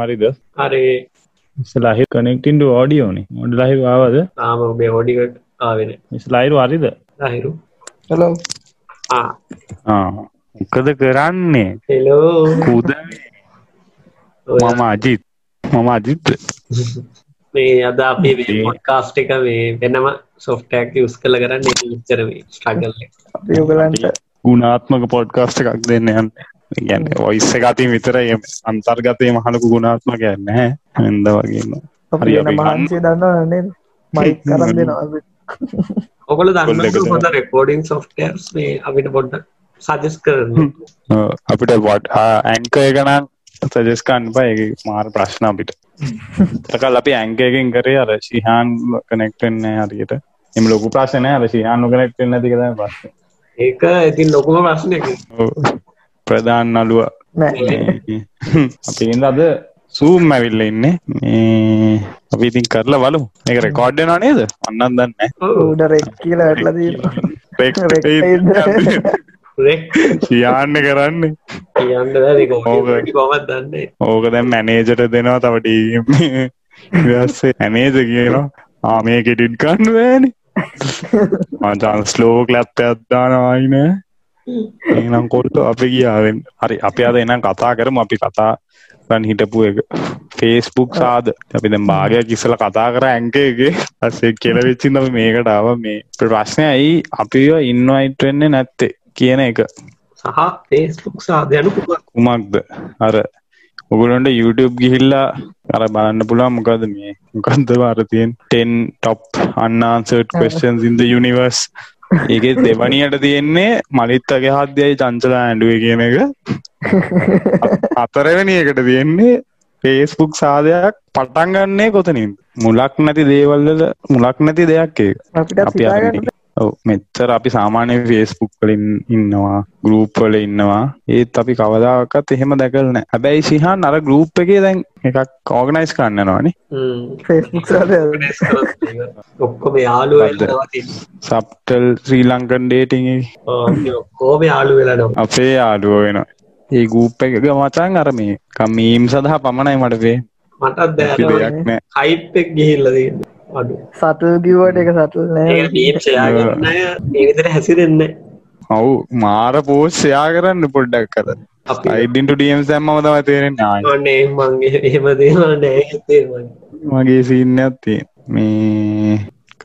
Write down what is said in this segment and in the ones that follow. හරිද හරි ස්ලාහි කනෙක්ටින්ට ෝඩියෝනි ොඩ ලහි ආවද නාම ඔබේ හෝඩිකට ආවෙන ස්ලයිරු අරිද රහිරු හලෝ මොකද කරන්නේ හෙලෝ කූද මම අජිත් මම අජිත් මේ අද අපි පොඩ්කාස්ට් එක මේ වෙනම සොෆ්ටයක් යුස් කළ කරන්න විච්චර මේ ස්ට්‍රගල් එක. අපි ඔගලන්ට ගුණාත්මක පොඩ්කාස්ට එකක් දෙන්න යන්න ගැන්න ඔයිස්ස එකතින් විතර එම අන්තර්ගතය මහලකු ගුණාත්ම ගැන්න ඇද වගේම හරි, අපි අපි වෙන මහන්සේ දන්නවනේ මයික් කරන් දෙනවා ඔකොල කොල්ලෙකුද? දන්න හොඳ රෙකෝඩින් සොෆ්ටර්ස් මේ අපිට පොඩ්ඩ සජස් කරන අ, අපිට වොට් ඇන්ක එකනම් සජස්කන්න බ ඒ මාර ප්‍රශ්න අපිට තකල් අපි ඇංකයකින් කරේ අර ශිහාන් කනෙක්ටෙන්න හරියට එම ලොකු ප්‍රශ්නය අර ශිහාන් කනෙක්ටෙන්න තිකද ප්‍රශ්න ඒක ඉතින් ලොකුම ප්‍රශ්නයක ඔව්. ප්‍රධාන් අලුව නෑ අපි ඉඳ අද සූම් ඇවිල්ල ඉන්නේ මේ අපි ඉතින් කරලා බලු එක රෙකෝඩ්ඩනා නේද අන්නන් දන්න උඩරෙක් කියලා වැටලා තියෙනවා Rec page. සියාන්න කරන්නේ කියන්න ඕක. බැ කොමත් දන්නේ ඕක දැම් මැනේජට දෙනවා තවටස්සේ ඇනේජ කියනවා ආමය කෙටින් කන්නුවන මචන් ස්ලෝක ලැප්ප අත්දානවායින ඒනම් කොල්ට අපි කියාවෙන් හරි අපි අද එනම් කතා කරම අපි කතා රන් හිටපු එක ෆේස්බුක් සාද අපි දැම් භාගයක් ඉස්සල කතා කර ඇංකේගේ අස්සේ කෙල වෙච්චින් අපි මේකට ආව මේ ප්‍රශ්නය ඇයි අපිව ඉන්නවයිටවෙන්නේ නැත්තේ කියන එක සහ පේස්පුක් සාධයනු පුුව කුමක්ද අර ඔගුලොන්ට YouTube ගිහිල්ලා අර බලන්න පුළා මොකද මේ මොකන්ද වාරතියෙන් 10 top unanswered questions in the universe ඒක දෙවනියට තියෙන්නේ මලිත් අගේ හද්‍යයි චංචලා ඇඩුවේ කියන එක අ- අතරවෙනි එකට තියෙන්නේ ෆේස්බුක් සාධයක් පටන් ගන්නේ කොතනින් මුලක් නැති දේවල්වල මුලක් නැති දෙයක් ඒක අපිටත් අපි අර හිතාගන්න මේ- ඔව් මෙච්චර අපි සාමාන්‍ය ෆේස්බුක් කලින් ඉන්නවා ගරූප් වල ඉන්නවා ඒත් අපි කවදාකත් එහෙම දැකලන හැබැයි සිහන් අර ගරූප් එකේ දැන් එකක් ඕගනයිස් කන්නනවානි ෆෙස්බුක් සාද ඔක්කොම යාලු හරිද? සප්ටල් ශ්‍රී ලංකන් ඩේටිං ඔක්කෝම යාලු වෙලා නො අපේ ආඩුව වෙන ඒ ගූප් එක මචන් අර මේ කමීම් සඳහා පමණයි මටවේ මටත් අපි දැන දෙයක් නෑ හයිපෙක් ගිහිල්ලදන්න අඩු සතුල් කිව්වට එක සතුල් ඒ නෑ නීට් සයාගන්න ඒවිතර හැසිරෙන්න ඔවු මාර පෝෂ්ෂයා කරන්න පොඩ්ඩක් කර අපි අයිඩින්ට ඩියම් සැම්මම තම තේරෙන් ආය ඔන්නේ මංගේ එහෙම දේවා නෑ තේරමන්න මගේ සිීන්නයක් තිය මේ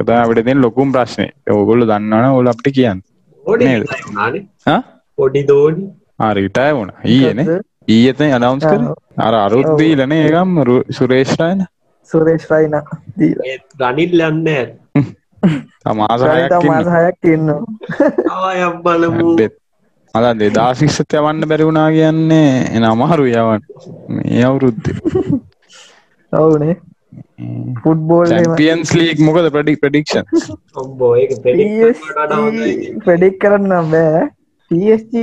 කතාට දෙෙන් ලොකුම් ප්‍රශ්නය ඔගොල්ල දන්නවන ඔල අපට කියන්න පොඩි නේද? නානේ පොඩි දෝඩි ආරිටය වුණ ඊයන ඊයත අනවන්ස් කර අර අරුත්දී ලන ඒකම් සුරේෂ්ටයින සුරේෂ් රයින දීලා ඒත් රනිල් යන්න රනිතා තමාසායක් මාසහයක් තියෙන්නවා ආයම් බලමු අල දෙදාශික්ෂත යවන්න බැරිවුණා කියන්නේ එන අමහරු යවන් මේ අවුරුද්ධ ඔවුනේ ෆුට්බෝල් චැම්පියන්ස් ලීක් මොකද ප්‍රඩික් ප්‍රඩික්ෂන් අම්බෝ ඒක predict කරන්න වඩා හොඳයි. පෙඩික් කරන්න බෑ PSG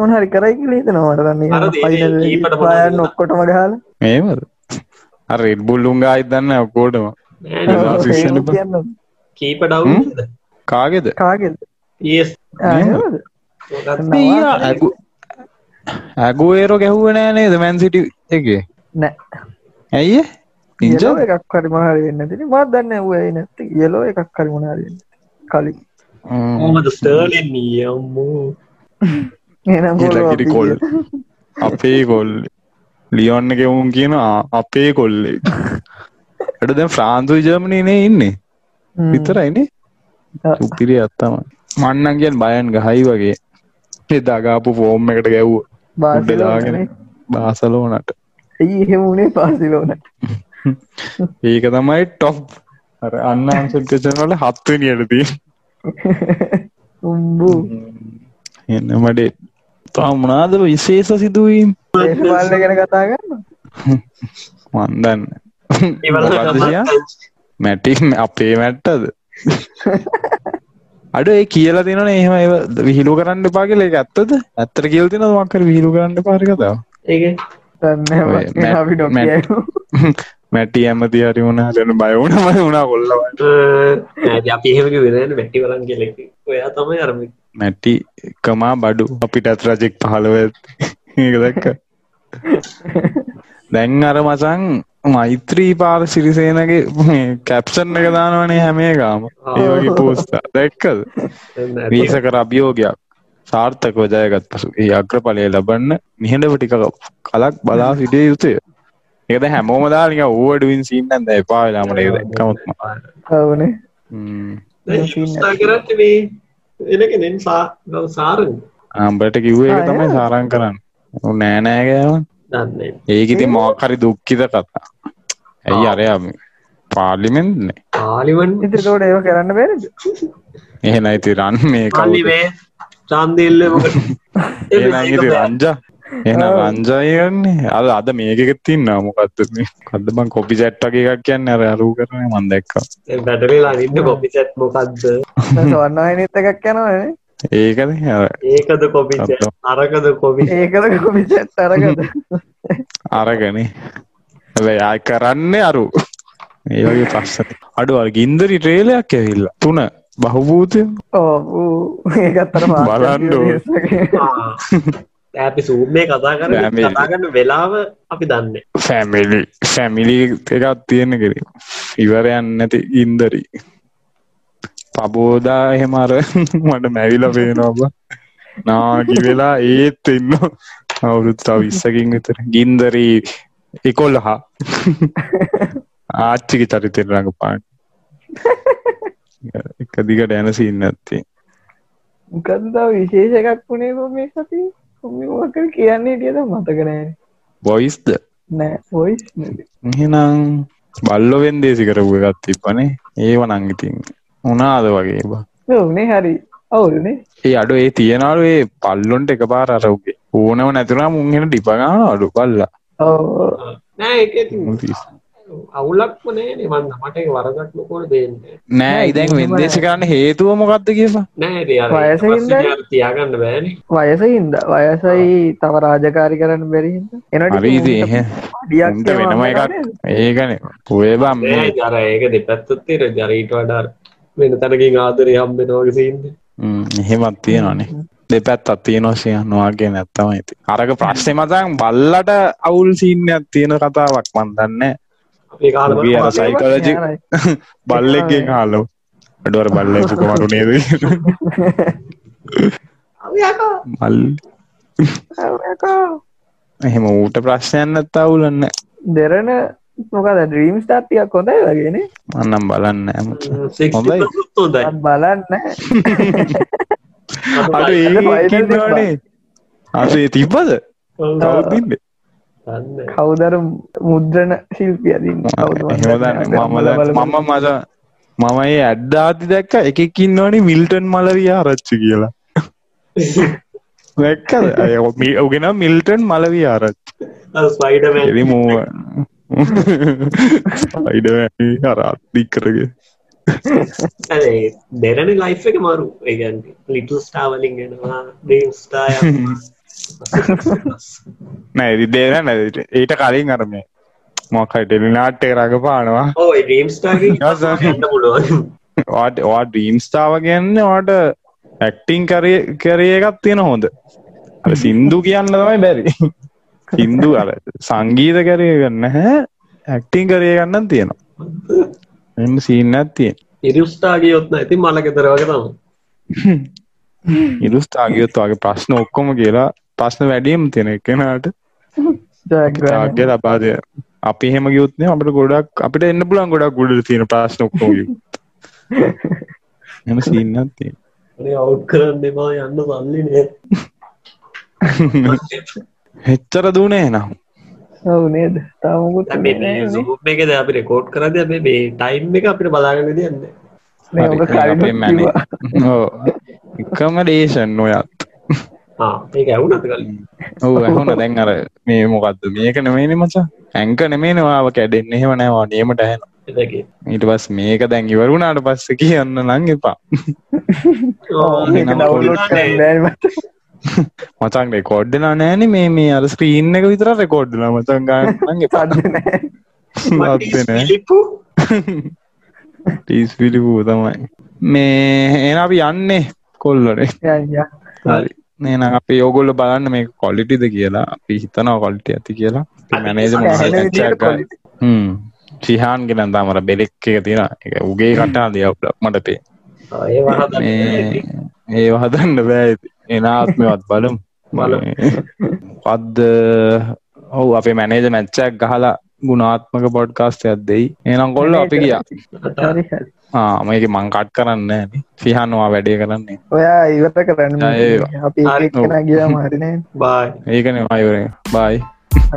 මොනහරි කරයි කියලා හිතනවා මට දන්නේ අර දේ- කීපට ෆයිනල් පොඩ්ඩක් පායන් ඔක්කොටම ගහලා මේමද රෙඩ්බුල්ලුන්ග අයිදන්න ඔකෝටම නෑ නෑ. ඒක ඒක සිස්සන බ- කියන්න කීප down හ්ම්? නේද? කාගෙද කාගෙද PS ආ, නේද? එහෙමද? මොකක්ද? නෑ. ඊයා ඇගු- ඇගුඒරෝ ගැහුව නෑ නේද මැන්සිටි එක නෑ ඇයි ඉජ යලෝ එකක් හරි මොනහරි වෙන්න තින මත් දන්න ඌයි නැති යලෝ එකක් හරි මොනහරි වෙන්න කලින් කොහොමද ස්ටර්ලින් ඊයේ අම්මෝ. එහෙනම් ගෝල ලකිරි කොල් අපේ කොල් ලියොන්න ගෙවුම් කියන අපේ කොල්ලේ එට දැ ෆ්‍රාන්සු ජර්මණනේ ඉන්නේ විතරයිනේ ආ. උපිරි අත්තම මන්නන් කියන් බයන් ගහයි වගේ එදාගාපු ෆෝම් එකට ගැව් උඩදාගෙන බාසිලෝනේ බාසලෝනට ඒ එහෙම උනේ පාසිලෝනට ඒක තමයි ටොප් අන්නසකචනල හත්වනියටදී උම්බූ එන්න මඩේ තා මනාදව විශේෂ සිදුවීම් දේශපාලන ගැන කතා කරන්න මන්දන්න ඒවල තමයි. මැටින් අපේ මැට්ටද අඩ ඒ කියලා තිනන එහෙම ඒව විහිලු කරන්න පාගල එක ඇත්තද ඇත්තර කියල් තින මක්කර විහිලු කරන්න පාරිකතාව ඒක දන්න ඔය මැට්- අපි මැට්- ඩොක්ිය මැටි ඇමති හරි වුණා ලන බයවුණ මයි වුණා කොල්ලව අ, නෑ, අපි එහෙම කිව්වේ නෑ වැටි වලන් කියලා කිව්වේ. ඔයා තමයි අර මේ- මැටි කමා බඩු අපිටත් රජෙක් පහළව ඒක දැක්ක දැන් අර මසං මෛත්‍රී පාර සිරිසේනගේ කැප්සන් එක දානවනේ හැමේ ගාම ඒගේ පෝස්ත දැක්කද වීසක රබියෝගයක් සාර්ථකව ජයගත් පසු ඒ අග්‍රඵලය ලබන්න නිහඬව ටික කලක් බලා සිටිය යුතුය එකද හැමෝම දාලික ඕඩුවින් සින්නන්ද එපාවෙලාමට ඒ දැක්කමත්ම අවනේ කරත් මේ එනකෙනෙන් සා ගව සාරෙන් අම්බට කිව්ව එක තමයි සාරං කරන්න නෑනෑගෑවන් දන්නේ ඒක ඉති මෝකරි දුක්කිත කතා ඇයි අරයා පාර්ලිමෙන්න්නේ පාලිවන් ඉතිතෝට ඒව කරන්න බේරද එහෙන අයිති රන් මේ කවුද? පල්ලිවේ චන්දල්ල එහෙනම් ඉතින් රංජා එහෙනම් රංජා කියන්නේ අද අද මේකෙත් තින්නා මොකක්ද මේ කද්ද මං කොපි චැට් වගේ එකක් කියන්නේ අර අරූ කරන්නේ මම දැක්කා බැටලලා ඉන්න කොපිචත් මොකක්ද සවන්නනත් එකක් යනවන ඒකද අර ඒකද කොපිච අරකද කොපි ඒකද කොපිච තරකද අරගනේ හැබැයි ආයි කරන්නේ අරු ඒ වගේ ප්‍රශ්න අඩු අර ගින්දරි ට්‍රේලයක් ඇවිල්ලා තුන බහුභූතය ඕ ඒකත්තර බලන්න ඕන. ඇපි සූම්ය කතා කර නෑ මේ- කතාගන්න වෙලාව අපි දන්නේ ෆැමිලි ෆැමිලි එකක් තියෙන කෙරේ ඉවරයන් නැති ඉන්දරි පබෝදා එහෙමර මට මැවිල පේනබ නාගි වෙලා ඒත් එන්න අවුරුත්තා විස්සකින් විතර ගින්දරී එකොල්ල හා ආච්චික චරිතෙන් රඟපාන් එක දිගට යන සින්න ඇත්තේ කදදාව විශේෂ එකක් වුණේ කො මේ සති කොමිකර කියන්නේ ටියද මතකනෑ බොයිස්ද නෑ පොයිස් එහෙනම් බල්ලොවෙන් දේසි කරපු එකත් තිබ්බනේ ඒව නංගිතින් උනාද වගේ බා උනේ හරි අවුරුනේ ඒ අඩු ඒ තියෙනලු ඒ පල්ලොන්ට එක පාර අරවගේ ඕනව නැතුනා මුන්හෙන ඩිපගාන අඩු පල්ලා ඕ නෑ එක අවුලක්ම නෑ නිමන්න මට ඒක වරදක් ලොකොට දෙන්න නෑ ඉදැන් වෙන්දේශ කරන්න හේතුව මොකක්ද කියලා නෑ ඒ අර ඊට වයස පස්සේ හින්දායි. අර තියාගන්න බෑන වයස හින්ද වයසයි තව රාජකාරි කරන්න බැරිහිද හරිද එහ උන්ට වෙනම එකක් ඒකන පුයබම් නෑ ජර ඒක දෙපැත්තත්තේ ජරීට වඩාර් වෙන තැනකින් ආදරය හම්බෙනෝගේ සින්ද එහෙමත් තියෙනනේ දෙපැත් අත්තියනොසිය නොවාගේ නැත්තම ඇති අරක ප්‍රශ්නය මතන් බල්ලට අවුල් සිීන්නයක් තියෙන කතාවක් මන්දන්න අපේ කාල ඔහුගේ අර psychology. බල්ලෙක්ගේ හාලෝ අඩුවර බල්ල පුකමරු නේද මල් එහෙම ඌට ප්‍රශ්නයන් නැත්ත අවුලන්න දෙරන මොකද ඩ්‍රීම් ස්ටාත්තියක් කොඳයි වගෙන මන්නම් බලන්න ඇම හොඳයි. හොඳයි බලන්න අඩ ඒනේ අසේ තිබ්බද කවතින්න දන්නේ. කවුදර මුද්‍රණ ශිල්පියදින් හදන්න මම මම මද මම ඒ අඩ්ඩාති දැක්ක එකකින් ඕනි මිල්ටන් මලවිය ආරච්චි කියලා දැක්කද අය මි- ඔගෙන මිල්ටන් මලවී ආරච්චි අර ස්පයිඩර්මෑන් එරි මූව අයිඩ අරාත්දික් කරග ඇයි දෙරණ ලයිෆ් එක මරු ඒගන් ලිටල් ස්ටාවලින් ගෙනවා ඩීම් ස්ටාය නෑ ඇදි දේන නැ ඒට කලින් අරමේ මොකයි ටෙලිනාට්ටේ රඟ පානවා ඕ ඩීම් Awesome. ස්ටාගන්න පුළුවන් වාට වා ඩීම්ස්ථාව කියන්න වාට ඇක්ටිං කරේ එකත් තියෙන හොඳ අර සින්දු කියන්න තමයි බැරි සින්දු අර සංගීත කරය ගන්න හැ ඇක්ටිං කරේ ගන්න තියෙනවා එම සිීන්නත් තියෙන් ඉරිස්ටාගේ යොත්න ඇති මලකෙතරවගේ තම ඉරුස්ථාගයොත් වගේ ප්‍රශ්න ඔක්කොම කියලා ප්‍රශ්න වැඩියම් තියෙන එකෙනට තාග්‍ය ලබාදය අපි හෙම ගයුත්නය අපට ගොඩක් අපිට එන්න පුලන් ගොඩක් ගොඩ තියෙන ප්‍රශ්න ඔක්කෝ එම සිීන්නත් තිය අවු් කරන්න දෙවා යන්න සල්ලි නේ හෙච්චර දුනේ නම් ඔවු නේද තමුකුත් දැන් මේ- මේ Zoom එකද අපි රෙකෝඩ් කරද මේ මේ ටයිම් එක අපිට බලාගන්න දෙයන්න හරි, ඒක අපේ මැනේ. ඔව්. accommodation ඔයත් ඒක ඇවුනත කලින් ඔව ඇහුන දැන් අර මේ මොකක්ද මේක නෙමේනි මචා ඇංක නෙමේනවාව කැඩෙන් එහෙම නෑවා නියමට ඇන එතකේ ඊට පස් මේක දැන් ඉවරුණාට පස්ස කියන්න නං එපා ඒක ඩවලෝඩ් කරන්න බෑ. මචන් රෙකෝඩ්ඩලා නෑන මේ මේ අර ස්ක්‍රීන් එක විතර රෙකෝඩ්ඩලා මචන් ගන්න සද්ද නෑ. පත්න ටීස් පිලිපූ තමයි මේ එන අපි යන්නේ කොල්ලනේ යන් යන්. හරි නේන අපි යෝගොල්ල බලන්න මේ කොලිටිද කියලා අපි හිතනවා කොලිටි ඇති කියලා අපි මැනේජ දැන් ඇහෙන විදියට මහචක්ක quality. සිිහාන් ගෙනන් තාමර බෙලෙක් එක තියෙන එක උගේ කටා දෙයක් මට පේ ඒ වහත මේ ඒ හදන්න බෑ එනාත්මවත් බලම් බලමු. පද්ද ඔහු අපේ මැනේජ මැච්චක් ගහලා ගුණාත්මක පොඩ්කාස්ට ඇත් දෙයි එනම් කොල්ල අපි ගිය හරි හරි. මේක මංකට් කරන්න නෑනේ. සිහන්වා වැඩේ කරන්නේ ඔයා ඉවත කරන්න ආ, ඒ අපි හරි. එකක්න ගියා මාරිනෑ බායි ඒකන අයුරේ බයි